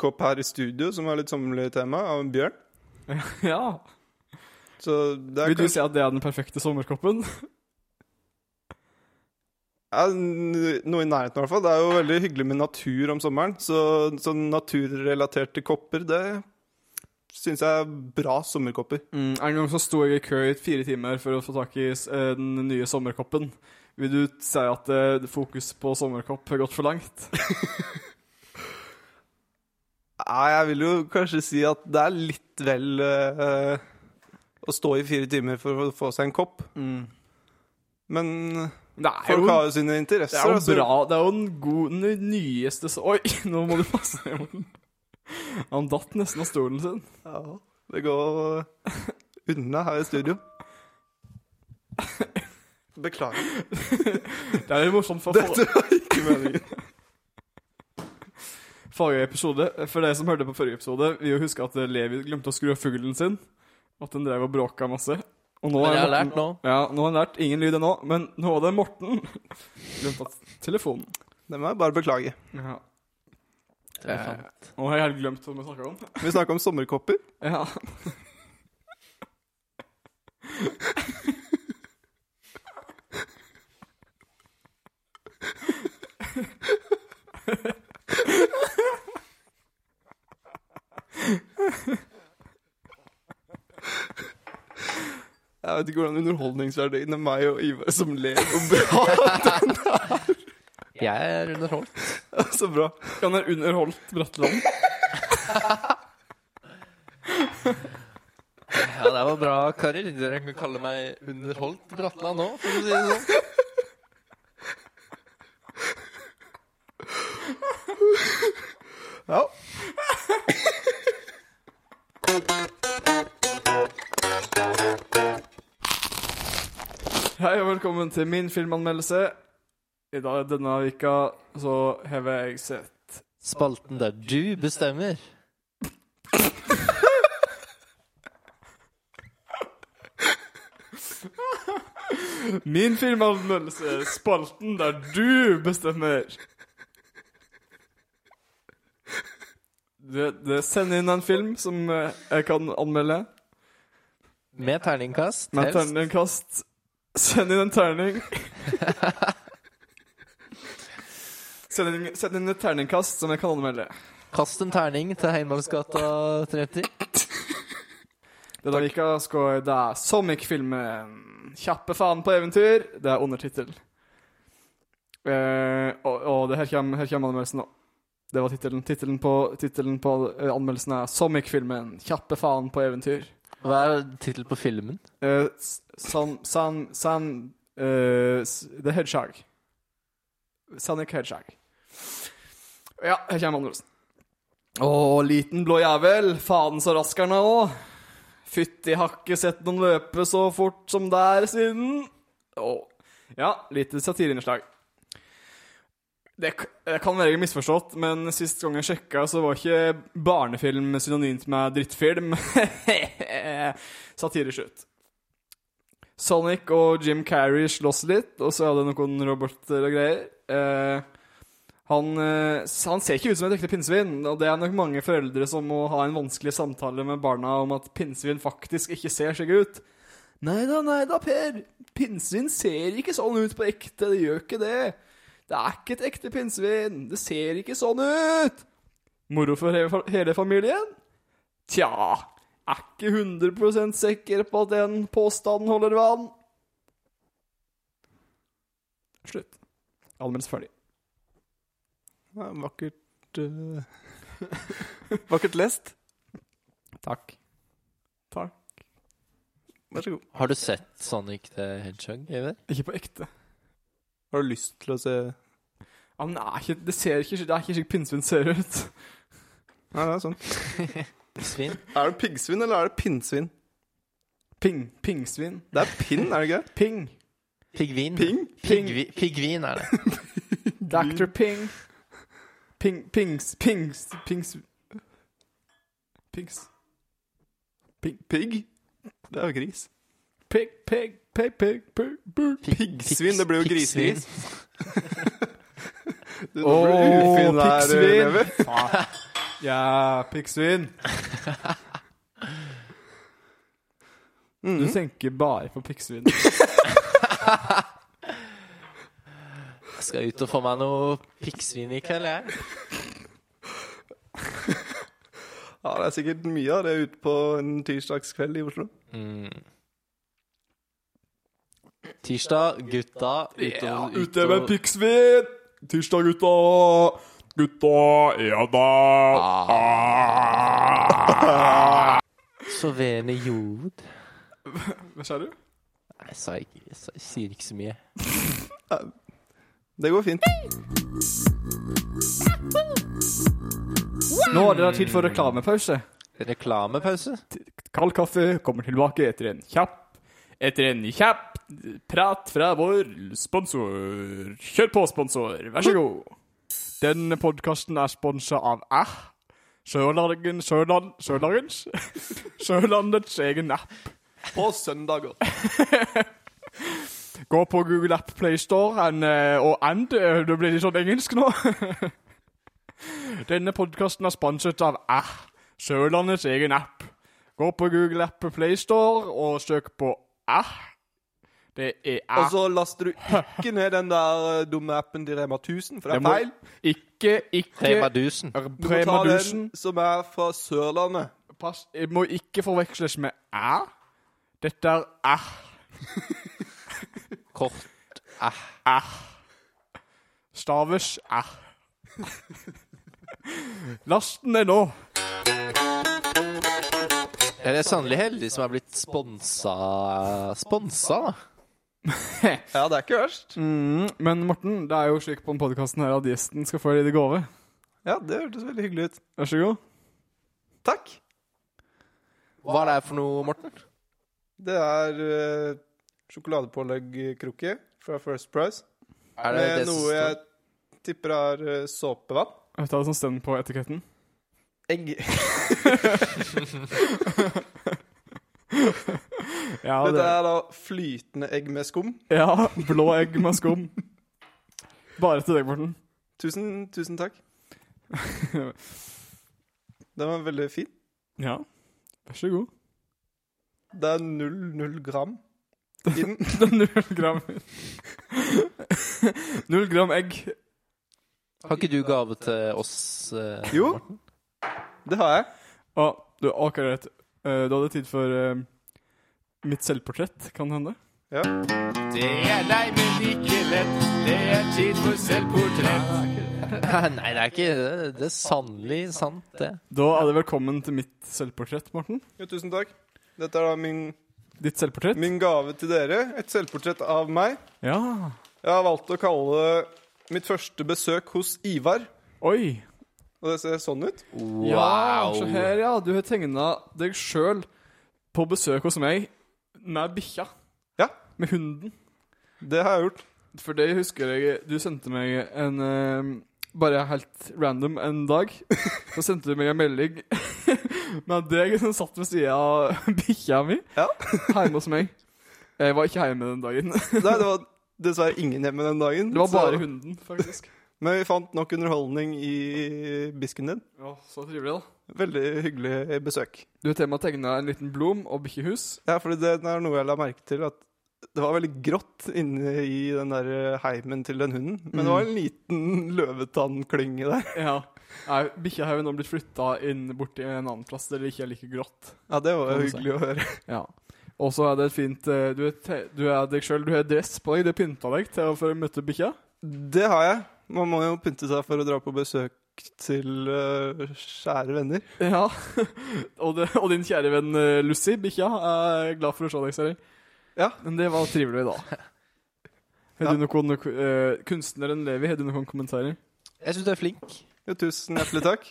[SPEAKER 3] kopp her i studio som har litt sommerlig tema, av en bjørn.
[SPEAKER 1] Ja.
[SPEAKER 3] Så det
[SPEAKER 1] Vil
[SPEAKER 3] er
[SPEAKER 1] du
[SPEAKER 3] kanskje
[SPEAKER 1] si at det er den perfekte sommerkoppen?
[SPEAKER 3] ja, n- noe i nærheten, i hvert fall. Det er jo veldig hyggelig med natur om sommeren. Så sånn naturrelaterte kopper, det syns jeg er bra sommerkopper.
[SPEAKER 1] Mm, en gang så sto jeg i kø i fire timer for å få tak i eh, den nye sommerkoppen. Vil du si at eh, fokus på sommerkopp har gått for langt?
[SPEAKER 3] Nei, jeg vil jo kanskje si at det er litt vel eh, å stå i fire timer for å få seg en kopp. Men
[SPEAKER 1] Det er
[SPEAKER 3] folk
[SPEAKER 1] jo,
[SPEAKER 3] har jo sine
[SPEAKER 1] det
[SPEAKER 3] interesser.
[SPEAKER 1] er jo
[SPEAKER 3] altså.
[SPEAKER 1] bra. Det er jo den god, den nyeste så Oi, nå må du passe deg, Morten. Han datt nesten av stolen sin.
[SPEAKER 3] Ja, det går eh, unna her i studio. Beklager.
[SPEAKER 1] Det er jo morsomt for
[SPEAKER 3] Dette var ikke meningen.
[SPEAKER 1] forrige episode. For dere som hørte på forrige episode, vil jo huske at eh, Levi glemte å skru av fuglen sin. At den drev og bråka masse. Og nå
[SPEAKER 2] Men
[SPEAKER 1] er
[SPEAKER 2] jeg har
[SPEAKER 1] Morten-
[SPEAKER 2] lært nå.
[SPEAKER 1] Ja, nå har han lært ingen lyd ennå, men nå var det Morten. Glemt at telefonen.
[SPEAKER 3] Det må jeg bare beklage.
[SPEAKER 1] Ja.
[SPEAKER 2] Det er sant.
[SPEAKER 1] Nå har jeg helt glemt hva vi snakka om.
[SPEAKER 3] Vi snakka om sommerkopper.
[SPEAKER 1] Ja.
[SPEAKER 3] Jeg vet ikke hvordan underholdningsverdien er meg og Ivar som ler og bra.
[SPEAKER 2] Jeg er underholdt.
[SPEAKER 3] Så bra.
[SPEAKER 1] Han er underholdt Bratteland.
[SPEAKER 2] Ja, det var bra, karer. Dere kan kalle meg underholdt Bratland nå, for å si det sånn.
[SPEAKER 3] Ja.
[SPEAKER 1] Hei og velkommen til min filmanmeldelse. I dag denne vika så har jeg sett
[SPEAKER 2] Spalten der du bestemmer.
[SPEAKER 1] Min filmanmeldelse, spalten der du bestemmer. Det, det sender inn en film som eh, jeg kan anmelde.
[SPEAKER 2] Med terningkast.
[SPEAKER 1] Med
[SPEAKER 2] helst.
[SPEAKER 1] terningkast. Send inn en terning. send, inn, send inn et terningkast som jeg kan anmelde.
[SPEAKER 2] Kast en terning til Heimarksgata 30.
[SPEAKER 1] Denne vika skal det er Sonic-filmen 'Kjappe faen på eventyr'. Det er undertittel. Eh, og, og det her kommer, her kommer anmeldelsen nå. Det var tittelen. Tittelen på, tittelen på eh, anmeldelsen er 'Sonic-filmen 'Kjappe faen på eventyr'.
[SPEAKER 2] Hva er tittelen på filmen?
[SPEAKER 1] Eh, s- san, san, san eh, s- The Hedgehog. Sonic Hedgehog. Ja, her kommer anmeldelsen. Å, liten blå jævel. Faen så rask er han òg. Fytti hakke, sett noen løpe så fort som der siden. Å. Ja, lite satireinnslag. Det, k- det kan være jeg har misforstått, men sist gang jeg sjekka, så var ikke barnefilm synonymt med drittfilm. Satireslutt. Sonic og Jim Carrey slåss litt, og så er det noen roboter og greier. Eh, han, eh, s- han ser ikke ut som et ekte pinnsvin, og det er nok mange foreldre som må ha en vanskelig samtale med barna om at pinnsvin faktisk ikke ser slik ut. Nei da, nei da, Per. Pinnsvin ser ikke sånn ut på ekte. Det gjør ikke det. Det er ikke et ekte pinnsvin. Det ser ikke sånn ut. Moro for hele fa- hele familien? Tja, er ikke 100 sikker på at den påstanden holder vann. Slutt. Anmeldelse ferdig.
[SPEAKER 3] Ja, Vakkert eh, Vakkert lest.
[SPEAKER 1] Takk. Takk.
[SPEAKER 3] Vær så god.
[SPEAKER 2] Har du sett Sonic the Hedgehog? Iver?
[SPEAKER 1] Ikke på ekte.
[SPEAKER 3] Har du lyst til å se
[SPEAKER 1] Ja, men det, er ikke, det ser ikke, det er ikke slik pinnsvin ser ut.
[SPEAKER 3] Nei, det er sånn.
[SPEAKER 2] Svin?
[SPEAKER 3] Er det piggsvin, eller er det pinnsvin?
[SPEAKER 1] Ping. Pingsvin.
[SPEAKER 3] Det er pinn, er det ikke det?
[SPEAKER 1] Ping.
[SPEAKER 2] Pigvin?
[SPEAKER 3] Ping?
[SPEAKER 2] Pigvi, pigvin er det.
[SPEAKER 1] Dr. Ping. Ping. Pings. Pings. Pings. Pings.
[SPEAKER 3] Pig? Pigg? Det er jo gris.
[SPEAKER 1] Pig, pig, pig, pig, pig, pig.
[SPEAKER 2] Pig-
[SPEAKER 3] Piggsvin, det blir jo
[SPEAKER 2] piggsvin.
[SPEAKER 3] grisegris. Du, nå
[SPEAKER 1] Åh,
[SPEAKER 3] blir du ufin her,
[SPEAKER 1] piggsvin.
[SPEAKER 3] Levi.
[SPEAKER 1] Faen. Ja, piggsvin.
[SPEAKER 3] Mm.
[SPEAKER 1] Du tenker bare på piggsvin.
[SPEAKER 2] Jeg skal ut og få meg noe piggsvin i kveld, jeg.
[SPEAKER 3] Ja, det er sikkert mye av det ute på en tirsdagskveld i Oslo.
[SPEAKER 2] Mm. Tirsdag, gutta ute og- ute
[SPEAKER 1] Ute med
[SPEAKER 2] og-
[SPEAKER 1] piggsvin! Tirsdag, gutta. Gutta, ja da.
[SPEAKER 2] Sovende jord.
[SPEAKER 1] Hva sa du?
[SPEAKER 2] Nei, Jeg, sa ikke, jeg, sa, jeg sier ikke så mye.
[SPEAKER 3] Det går fint.
[SPEAKER 1] Nå er det tid for reklamepause.
[SPEAKER 2] Reklamepause?
[SPEAKER 1] Kald kaffe kommer tilbake etter en kjapp Etter en kjapp prat fra vår sponsor. Kjør på, sponsor. Vær så god. Denne podkasten er sponsa av Æh. Sørlangen, Sørland... Sørlangens? Sørlandets egen app.
[SPEAKER 3] På søndager.
[SPEAKER 1] Gå på Google App Play Store and, eh, og and. eh, Det blir litt sånn engelsk nå. Denne podkasten er sponset av Æh, Sørlandets egen app. Gå på Google App Play Store og søk på Æh. Det er
[SPEAKER 3] Og
[SPEAKER 1] Æh.
[SPEAKER 3] så laster du ikke ned den der eh, dumme appen til Rema 1000, for
[SPEAKER 1] Det
[SPEAKER 3] det er
[SPEAKER 1] må-
[SPEAKER 3] feil.
[SPEAKER 1] Ikke, ikke
[SPEAKER 2] Rema 1000.
[SPEAKER 3] Du må ta
[SPEAKER 1] Prema
[SPEAKER 3] den
[SPEAKER 1] Dusen.
[SPEAKER 3] som er fra Sørlandet.
[SPEAKER 1] Pass, jeg må ikke forveksles med æ. Dette er æ.
[SPEAKER 2] Kort
[SPEAKER 1] Æ. Staves æ. Lasten er nå.
[SPEAKER 2] Jeg er sannelig heldig som er blitt sponsa Sponsa, da.
[SPEAKER 3] Ja, det er ikke verst.
[SPEAKER 1] Mm, men Morten, det er jo slik på den podkasten her at gjesten skal få en liten gave.
[SPEAKER 3] Ja, det hørtes veldig hyggelig ut.
[SPEAKER 1] Vær så god.
[SPEAKER 3] Takk.
[SPEAKER 2] Hva er det her for noe, Morten?
[SPEAKER 3] Det er uh, sjokoladepåleggkrukke fra First Price.
[SPEAKER 2] Er det
[SPEAKER 3] Med
[SPEAKER 2] det som
[SPEAKER 3] noe
[SPEAKER 2] står-
[SPEAKER 3] jeg tipper er eh, såpevann.
[SPEAKER 1] Vet du hva som står på etiketten?
[SPEAKER 3] Egg.
[SPEAKER 1] Ja,
[SPEAKER 3] Dette
[SPEAKER 1] det,
[SPEAKER 3] er da flytende egg med skum.
[SPEAKER 1] ja blå egg med skum. Bare til deg, Morten.
[SPEAKER 3] Tusen, tusen takk. Den var veldig fin.
[SPEAKER 1] Ja. Vær så god.
[SPEAKER 3] Det er null, null gram i den.
[SPEAKER 1] Det er null gram Null gram egg.
[SPEAKER 2] Har ikke du gave til oss? eh,
[SPEAKER 3] Jo,
[SPEAKER 2] Morten?
[SPEAKER 3] det har jeg.
[SPEAKER 1] Å, du har akkurat rett. Eh, Du hadde tid for eh, mitt selvportrett, kan det hende?
[SPEAKER 4] Det er lei, men ikke lett. Det er tid for selvportrett.
[SPEAKER 2] Nei, det er ikke det. Det er sannelig sant, det.
[SPEAKER 1] Da er det velkommen til mitt selvportrett, Morten.
[SPEAKER 3] Jo, tusen takk. Dette er da min,
[SPEAKER 1] Ditt selvportrett.
[SPEAKER 3] min gave til dere. Et selvportrett av meg.
[SPEAKER 1] Ja.
[SPEAKER 3] Jeg har valgt å kalle det mitt første besøk hos Ivar.
[SPEAKER 1] Oi.
[SPEAKER 3] Og det ser sånn ut.
[SPEAKER 2] Wow.
[SPEAKER 1] Ja, se her, ja. Du har tegna deg sjøl på besøk hos meg med bikkja.
[SPEAKER 3] Ja.
[SPEAKER 1] Med hunden.
[SPEAKER 3] Det har jeg gjort.
[SPEAKER 1] For det husker jeg Du sendte meg en eh, Bare helt random en dag. Så sendte du meg en melding med deg som satt ved sida av bikkja mi
[SPEAKER 3] Ja.
[SPEAKER 1] hjemme hos meg. Jeg var ikke hjemme den dagen.
[SPEAKER 3] Nei, det var dessverre ingen hjemme den dagen.
[SPEAKER 1] Det var
[SPEAKER 3] så-
[SPEAKER 1] bare hunden, faktisk.
[SPEAKER 3] Men vi fant nok underholdning i bisken din.
[SPEAKER 1] Ja, så trivelig, da.
[SPEAKER 3] Veldig hyggelig besøk.
[SPEAKER 1] Du har til og med tegna en liten blom og bikkjehus.
[SPEAKER 3] Ja, for det er noe jeg la merke til, at det var veldig grått inne i den der heimen til den hunden. Men det var
[SPEAKER 1] Mm.
[SPEAKER 3] en liten løvetannklinge der.
[SPEAKER 1] Ja. Nei, Bikkja har jo nå blitt flytta inn borti en annen plass der det ikke er like grått.
[SPEAKER 3] Ja, det var
[SPEAKER 1] Kan
[SPEAKER 3] jo
[SPEAKER 1] du si.
[SPEAKER 3] hyggelig å høre.
[SPEAKER 1] Ja. Og så er det et fint eh, Du er, te du er deg sjøl, du har dress på deg, du har pynta deg til å- for å møte bikkja.
[SPEAKER 3] Det har jeg. Man må jo pynte seg for å dra på besøk til eh, kjære venner.
[SPEAKER 1] Ja. og, det, og din kjære venn eh, Lucy, bikkja, er glad for å se deg, ser jeg.
[SPEAKER 3] Ja.
[SPEAKER 1] Men det var trivelig, da. Har du noen, noen eh, Kunstneren Levi, har du noen kommentarer?
[SPEAKER 2] Jeg syns du er flink.
[SPEAKER 3] Jo, tusen hjertelig takk.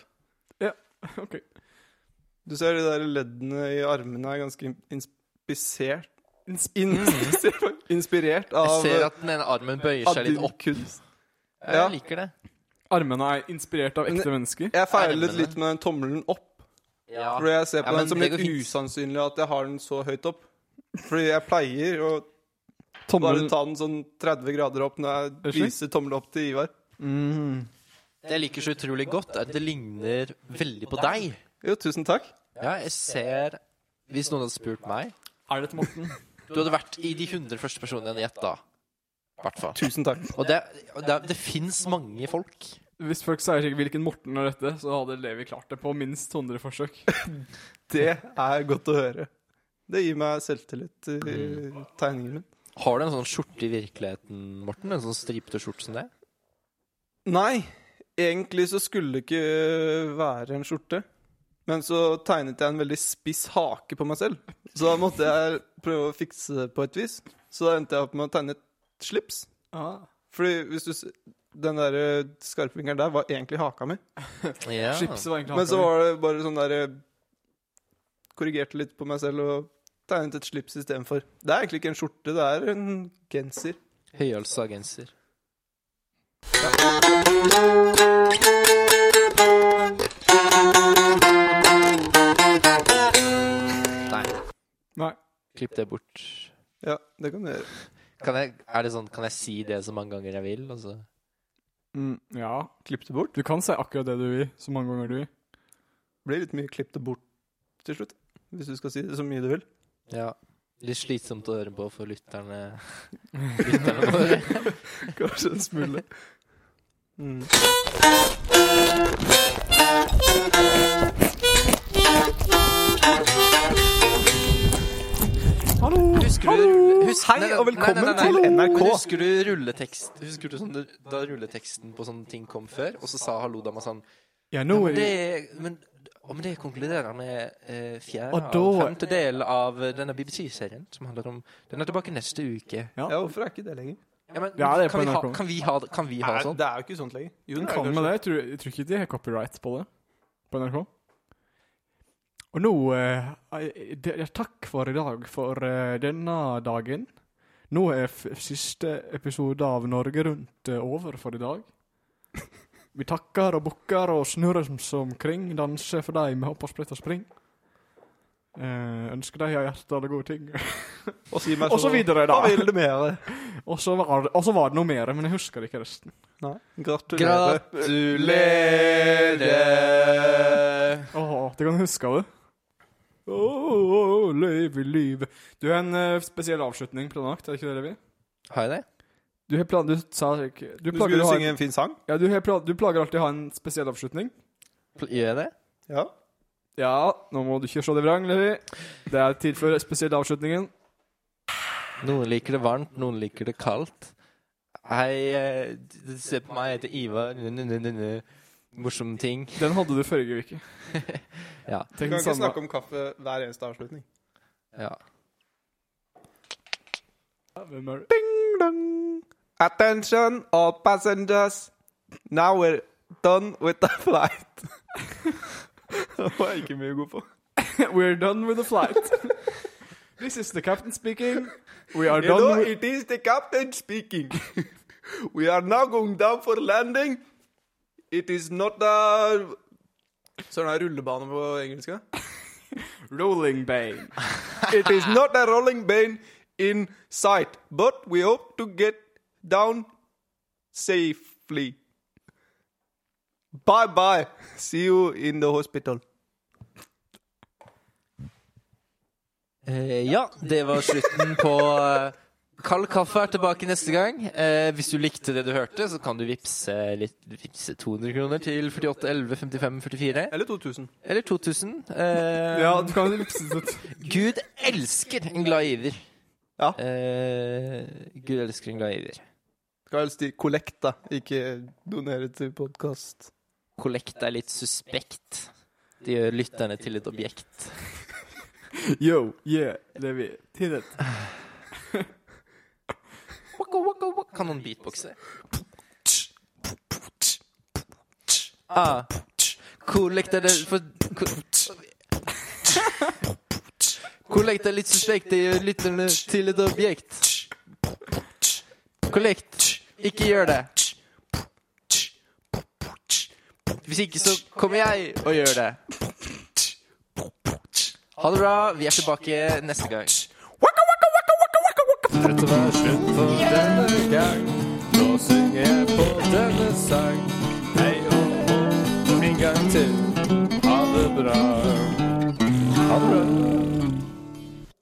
[SPEAKER 1] OK.
[SPEAKER 3] Du ser de der leddene i armene er ganske in- inspisert Inspirert
[SPEAKER 2] Mm. Jeg
[SPEAKER 3] av eh,
[SPEAKER 2] ser at den ene armen bøyer
[SPEAKER 3] av
[SPEAKER 2] seg
[SPEAKER 3] din
[SPEAKER 2] litt opp.
[SPEAKER 3] kunst. Ja.
[SPEAKER 2] Jeg liker det.
[SPEAKER 1] Armene er inspirert av ekte mennesker.
[SPEAKER 3] Jeg feilet
[SPEAKER 2] Armene.
[SPEAKER 3] litt med den tommelen opp.
[SPEAKER 2] Ja.
[SPEAKER 3] Fordi jeg ser
[SPEAKER 2] Ja,
[SPEAKER 3] på
[SPEAKER 2] men
[SPEAKER 3] den som
[SPEAKER 2] det
[SPEAKER 3] litt
[SPEAKER 2] går fint.
[SPEAKER 3] usannsynlig at jeg har den så høyt opp. Fordi jeg pleier å bare
[SPEAKER 1] Tommelen
[SPEAKER 3] ta den sånn 30 grader opp når
[SPEAKER 1] Er det
[SPEAKER 3] jeg
[SPEAKER 1] slik?
[SPEAKER 3] viser tommel opp til Ivar.
[SPEAKER 2] Det jeg liker så utrolig godt, er at det ligner veldig på deg.
[SPEAKER 3] Jo, tusen takk.
[SPEAKER 2] Ja, jeg ser Hvis noen hadde spurt meg
[SPEAKER 1] Er det til Morten?
[SPEAKER 2] Du hadde vært i de 100 første personene jeg gjetta. Hvert fall.
[SPEAKER 3] Tusen takk.
[SPEAKER 2] Og det, og det, det fins mange folk.
[SPEAKER 1] Hvis folk sier sikkert hvilken Morten er dette, så hadde Levi klart det på minst 100 forsøk.
[SPEAKER 3] Det er godt å høre. Det gir meg selvtillit i tegningen min.
[SPEAKER 2] Har du en sånn skjorte i virkeligheten, Morten? En sånn stripete skjorte som det?
[SPEAKER 3] Nei, egentlig så skulle det ikke være en skjorte. Men så tegnet jeg en veldig spiss hake på meg selv. Så da måtte jeg prøve å fikse det på et vis. Så da endte jeg opp med å tegne et slips. Ah. Fordi hvis du s- Den der eh, skarpfingeren der var egentlig haka mi.
[SPEAKER 2] Ja.
[SPEAKER 1] Slipset var egentlig
[SPEAKER 3] Men så
[SPEAKER 1] haka mi.
[SPEAKER 3] var det bare sånn der eh, Korrigerte litt på meg selv og tegnet et slips istedenfor. Det er egentlig ikke en skjorte, det er en genser.
[SPEAKER 2] Høyhalsa genser. Nei,
[SPEAKER 1] Nei.
[SPEAKER 2] klipp det bort.
[SPEAKER 3] Ja, det kan du gjøre.
[SPEAKER 2] Kan jeg, er det sånn, kan jeg si det så mange ganger jeg vil? Altså?
[SPEAKER 1] Mm, ja.
[SPEAKER 3] Klipp det bort.
[SPEAKER 1] Du kan si akkurat det du vil, så mange ganger du vil.
[SPEAKER 3] Det blir litt mye klipp det bort til slutt. Hvis du skal si det så mye du vil.
[SPEAKER 2] Ja. Litt slitsomt å høre på for lytterne. lytterne våre.
[SPEAKER 3] Kanskje en smule. Mm.
[SPEAKER 2] Husker
[SPEAKER 3] Hallo!
[SPEAKER 2] du husk-
[SPEAKER 3] Hei,
[SPEAKER 2] nei, nei,
[SPEAKER 3] og
[SPEAKER 2] nei,
[SPEAKER 3] velkommen
[SPEAKER 2] nei, nei,
[SPEAKER 3] til
[SPEAKER 2] nei.
[SPEAKER 3] NRK.
[SPEAKER 2] Men Husker du rulletekst Husker du sånn, da rulleteksten på sånne ting kom før, og så sa hallo-dama sånn
[SPEAKER 1] Jeg
[SPEAKER 2] ja,
[SPEAKER 1] nå
[SPEAKER 2] men
[SPEAKER 1] er
[SPEAKER 2] det, er- men, om det konkluderer med eh, fjerde
[SPEAKER 1] Og
[SPEAKER 2] og,
[SPEAKER 1] da-
[SPEAKER 2] femte del av eh, denne BBC-serien, som handler om Den er tilbake neste uke.
[SPEAKER 3] Ja, hvorfor er ikke det lenger?
[SPEAKER 2] Ja, men,
[SPEAKER 1] Ja, det er
[SPEAKER 2] kan,
[SPEAKER 1] på
[SPEAKER 2] vi ha,
[SPEAKER 1] NRK.
[SPEAKER 2] kan vi ha, kan vi ha
[SPEAKER 3] Nei,
[SPEAKER 2] sånn?
[SPEAKER 3] det er jo ikke sånt lenger. Jo,
[SPEAKER 1] Hun
[SPEAKER 3] det er
[SPEAKER 1] kan
[SPEAKER 3] kanskje-
[SPEAKER 1] med det. Jeg tror, jeg tror ikke de har copyright på det på NRK. Og nå eh, ei- det er Takk for i dag, for eh, denne dagen. Nå er f siste episode av Norge Rundt eh, over for i dag. Vi takker og bukker og snurrer oss omkring, danser for deg med hopp og sprett og spring. Eh, ønsker deg av hjertet alle gode ting.
[SPEAKER 3] Og si meg
[SPEAKER 1] Og så videre, da.
[SPEAKER 3] Hva vil du mer?
[SPEAKER 1] Og så var, og så var det noe mer, men jeg husker ikke resten.
[SPEAKER 3] Nei. Gratulerer.
[SPEAKER 2] Gratulerer!
[SPEAKER 1] Åh, du kan huske av det. Åh, oh, liv i livet. Du har en eh, spesiell avslutning planlagt, er det ikke det, Levi?
[SPEAKER 2] Har jeg det?
[SPEAKER 1] Du har plan... Du sa ikke Du
[SPEAKER 3] Du
[SPEAKER 1] plager,
[SPEAKER 3] skulle
[SPEAKER 1] å ha
[SPEAKER 3] synge
[SPEAKER 1] en,
[SPEAKER 3] en fin sang?
[SPEAKER 1] ja, du, har plan, du plager alltid å ha en spesiell avslutning.
[SPEAKER 2] Pl- Gjør jeg det?
[SPEAKER 3] Ja.
[SPEAKER 1] Ja, nå må du ikke slå deg vrang, Levi. Det er tid for spesiell avslutningen.
[SPEAKER 2] Noen liker det varmt, noen liker det kaldt. Hei, eh, d- d- se på meg, jeg heter Ivar. N- n- n- n- Morsomme ting.
[SPEAKER 1] Den hadde du forrige uke.
[SPEAKER 2] Ja.
[SPEAKER 3] Du
[SPEAKER 1] Tenk
[SPEAKER 3] kan
[SPEAKER 1] den
[SPEAKER 3] ikke
[SPEAKER 1] samme.
[SPEAKER 3] snakke om kaffe hver eneste avslutning.
[SPEAKER 2] ja.
[SPEAKER 1] Ja, hvem er det?
[SPEAKER 3] Ding dong. Attention all passengers. Now we're done with the flight. det var jeg ikke mye god på.
[SPEAKER 1] We're done with the flight. This is the captain speaking. We are
[SPEAKER 3] You know,
[SPEAKER 1] done with
[SPEAKER 3] it is the captain speaking. we are now going down for landing. It is not a Søren, er det rullebane på engelsk? ja?
[SPEAKER 1] rolling bane.
[SPEAKER 3] It is not a rolling bane in sight, but we hope to get down safely. Bye bye. See you in the hospital.
[SPEAKER 2] Eh, ja, det var slutten på eh, Kald kaffe er tilbake neste gang. Eh, hvis du likte det du hørte, så kan du vippse, litt, vippse 200 kroner til 48 11 55 44.
[SPEAKER 3] Eller 2000.
[SPEAKER 2] Eller 2000. Eh,
[SPEAKER 1] Ja, du kan lipse det ut.
[SPEAKER 2] Gud elsker en glad giver.
[SPEAKER 3] Ja.
[SPEAKER 2] Eh, Gud elsker en glad giver.
[SPEAKER 3] Skal helst i kollekt, da. Ikke donere til podkast.
[SPEAKER 2] Kollekt er litt suspekt. Det gjør lytterne til et objekt.
[SPEAKER 1] Yo, yeah, Levi. Til det.
[SPEAKER 2] Waka, waka, waka. Kan noen beatboxe? Ah. Kollekt er det uh, for ko- Kollekt er litt suspekt. Det gjør lytterne til et objekt. Kollekt. Ikke gjør det. Hvis ikke, så kommer jeg og gjør det. Ha det bra. Vi er tilbake neste gang.
[SPEAKER 4] Dette var slutt for denne gang. Nå synger jeg på denne sang.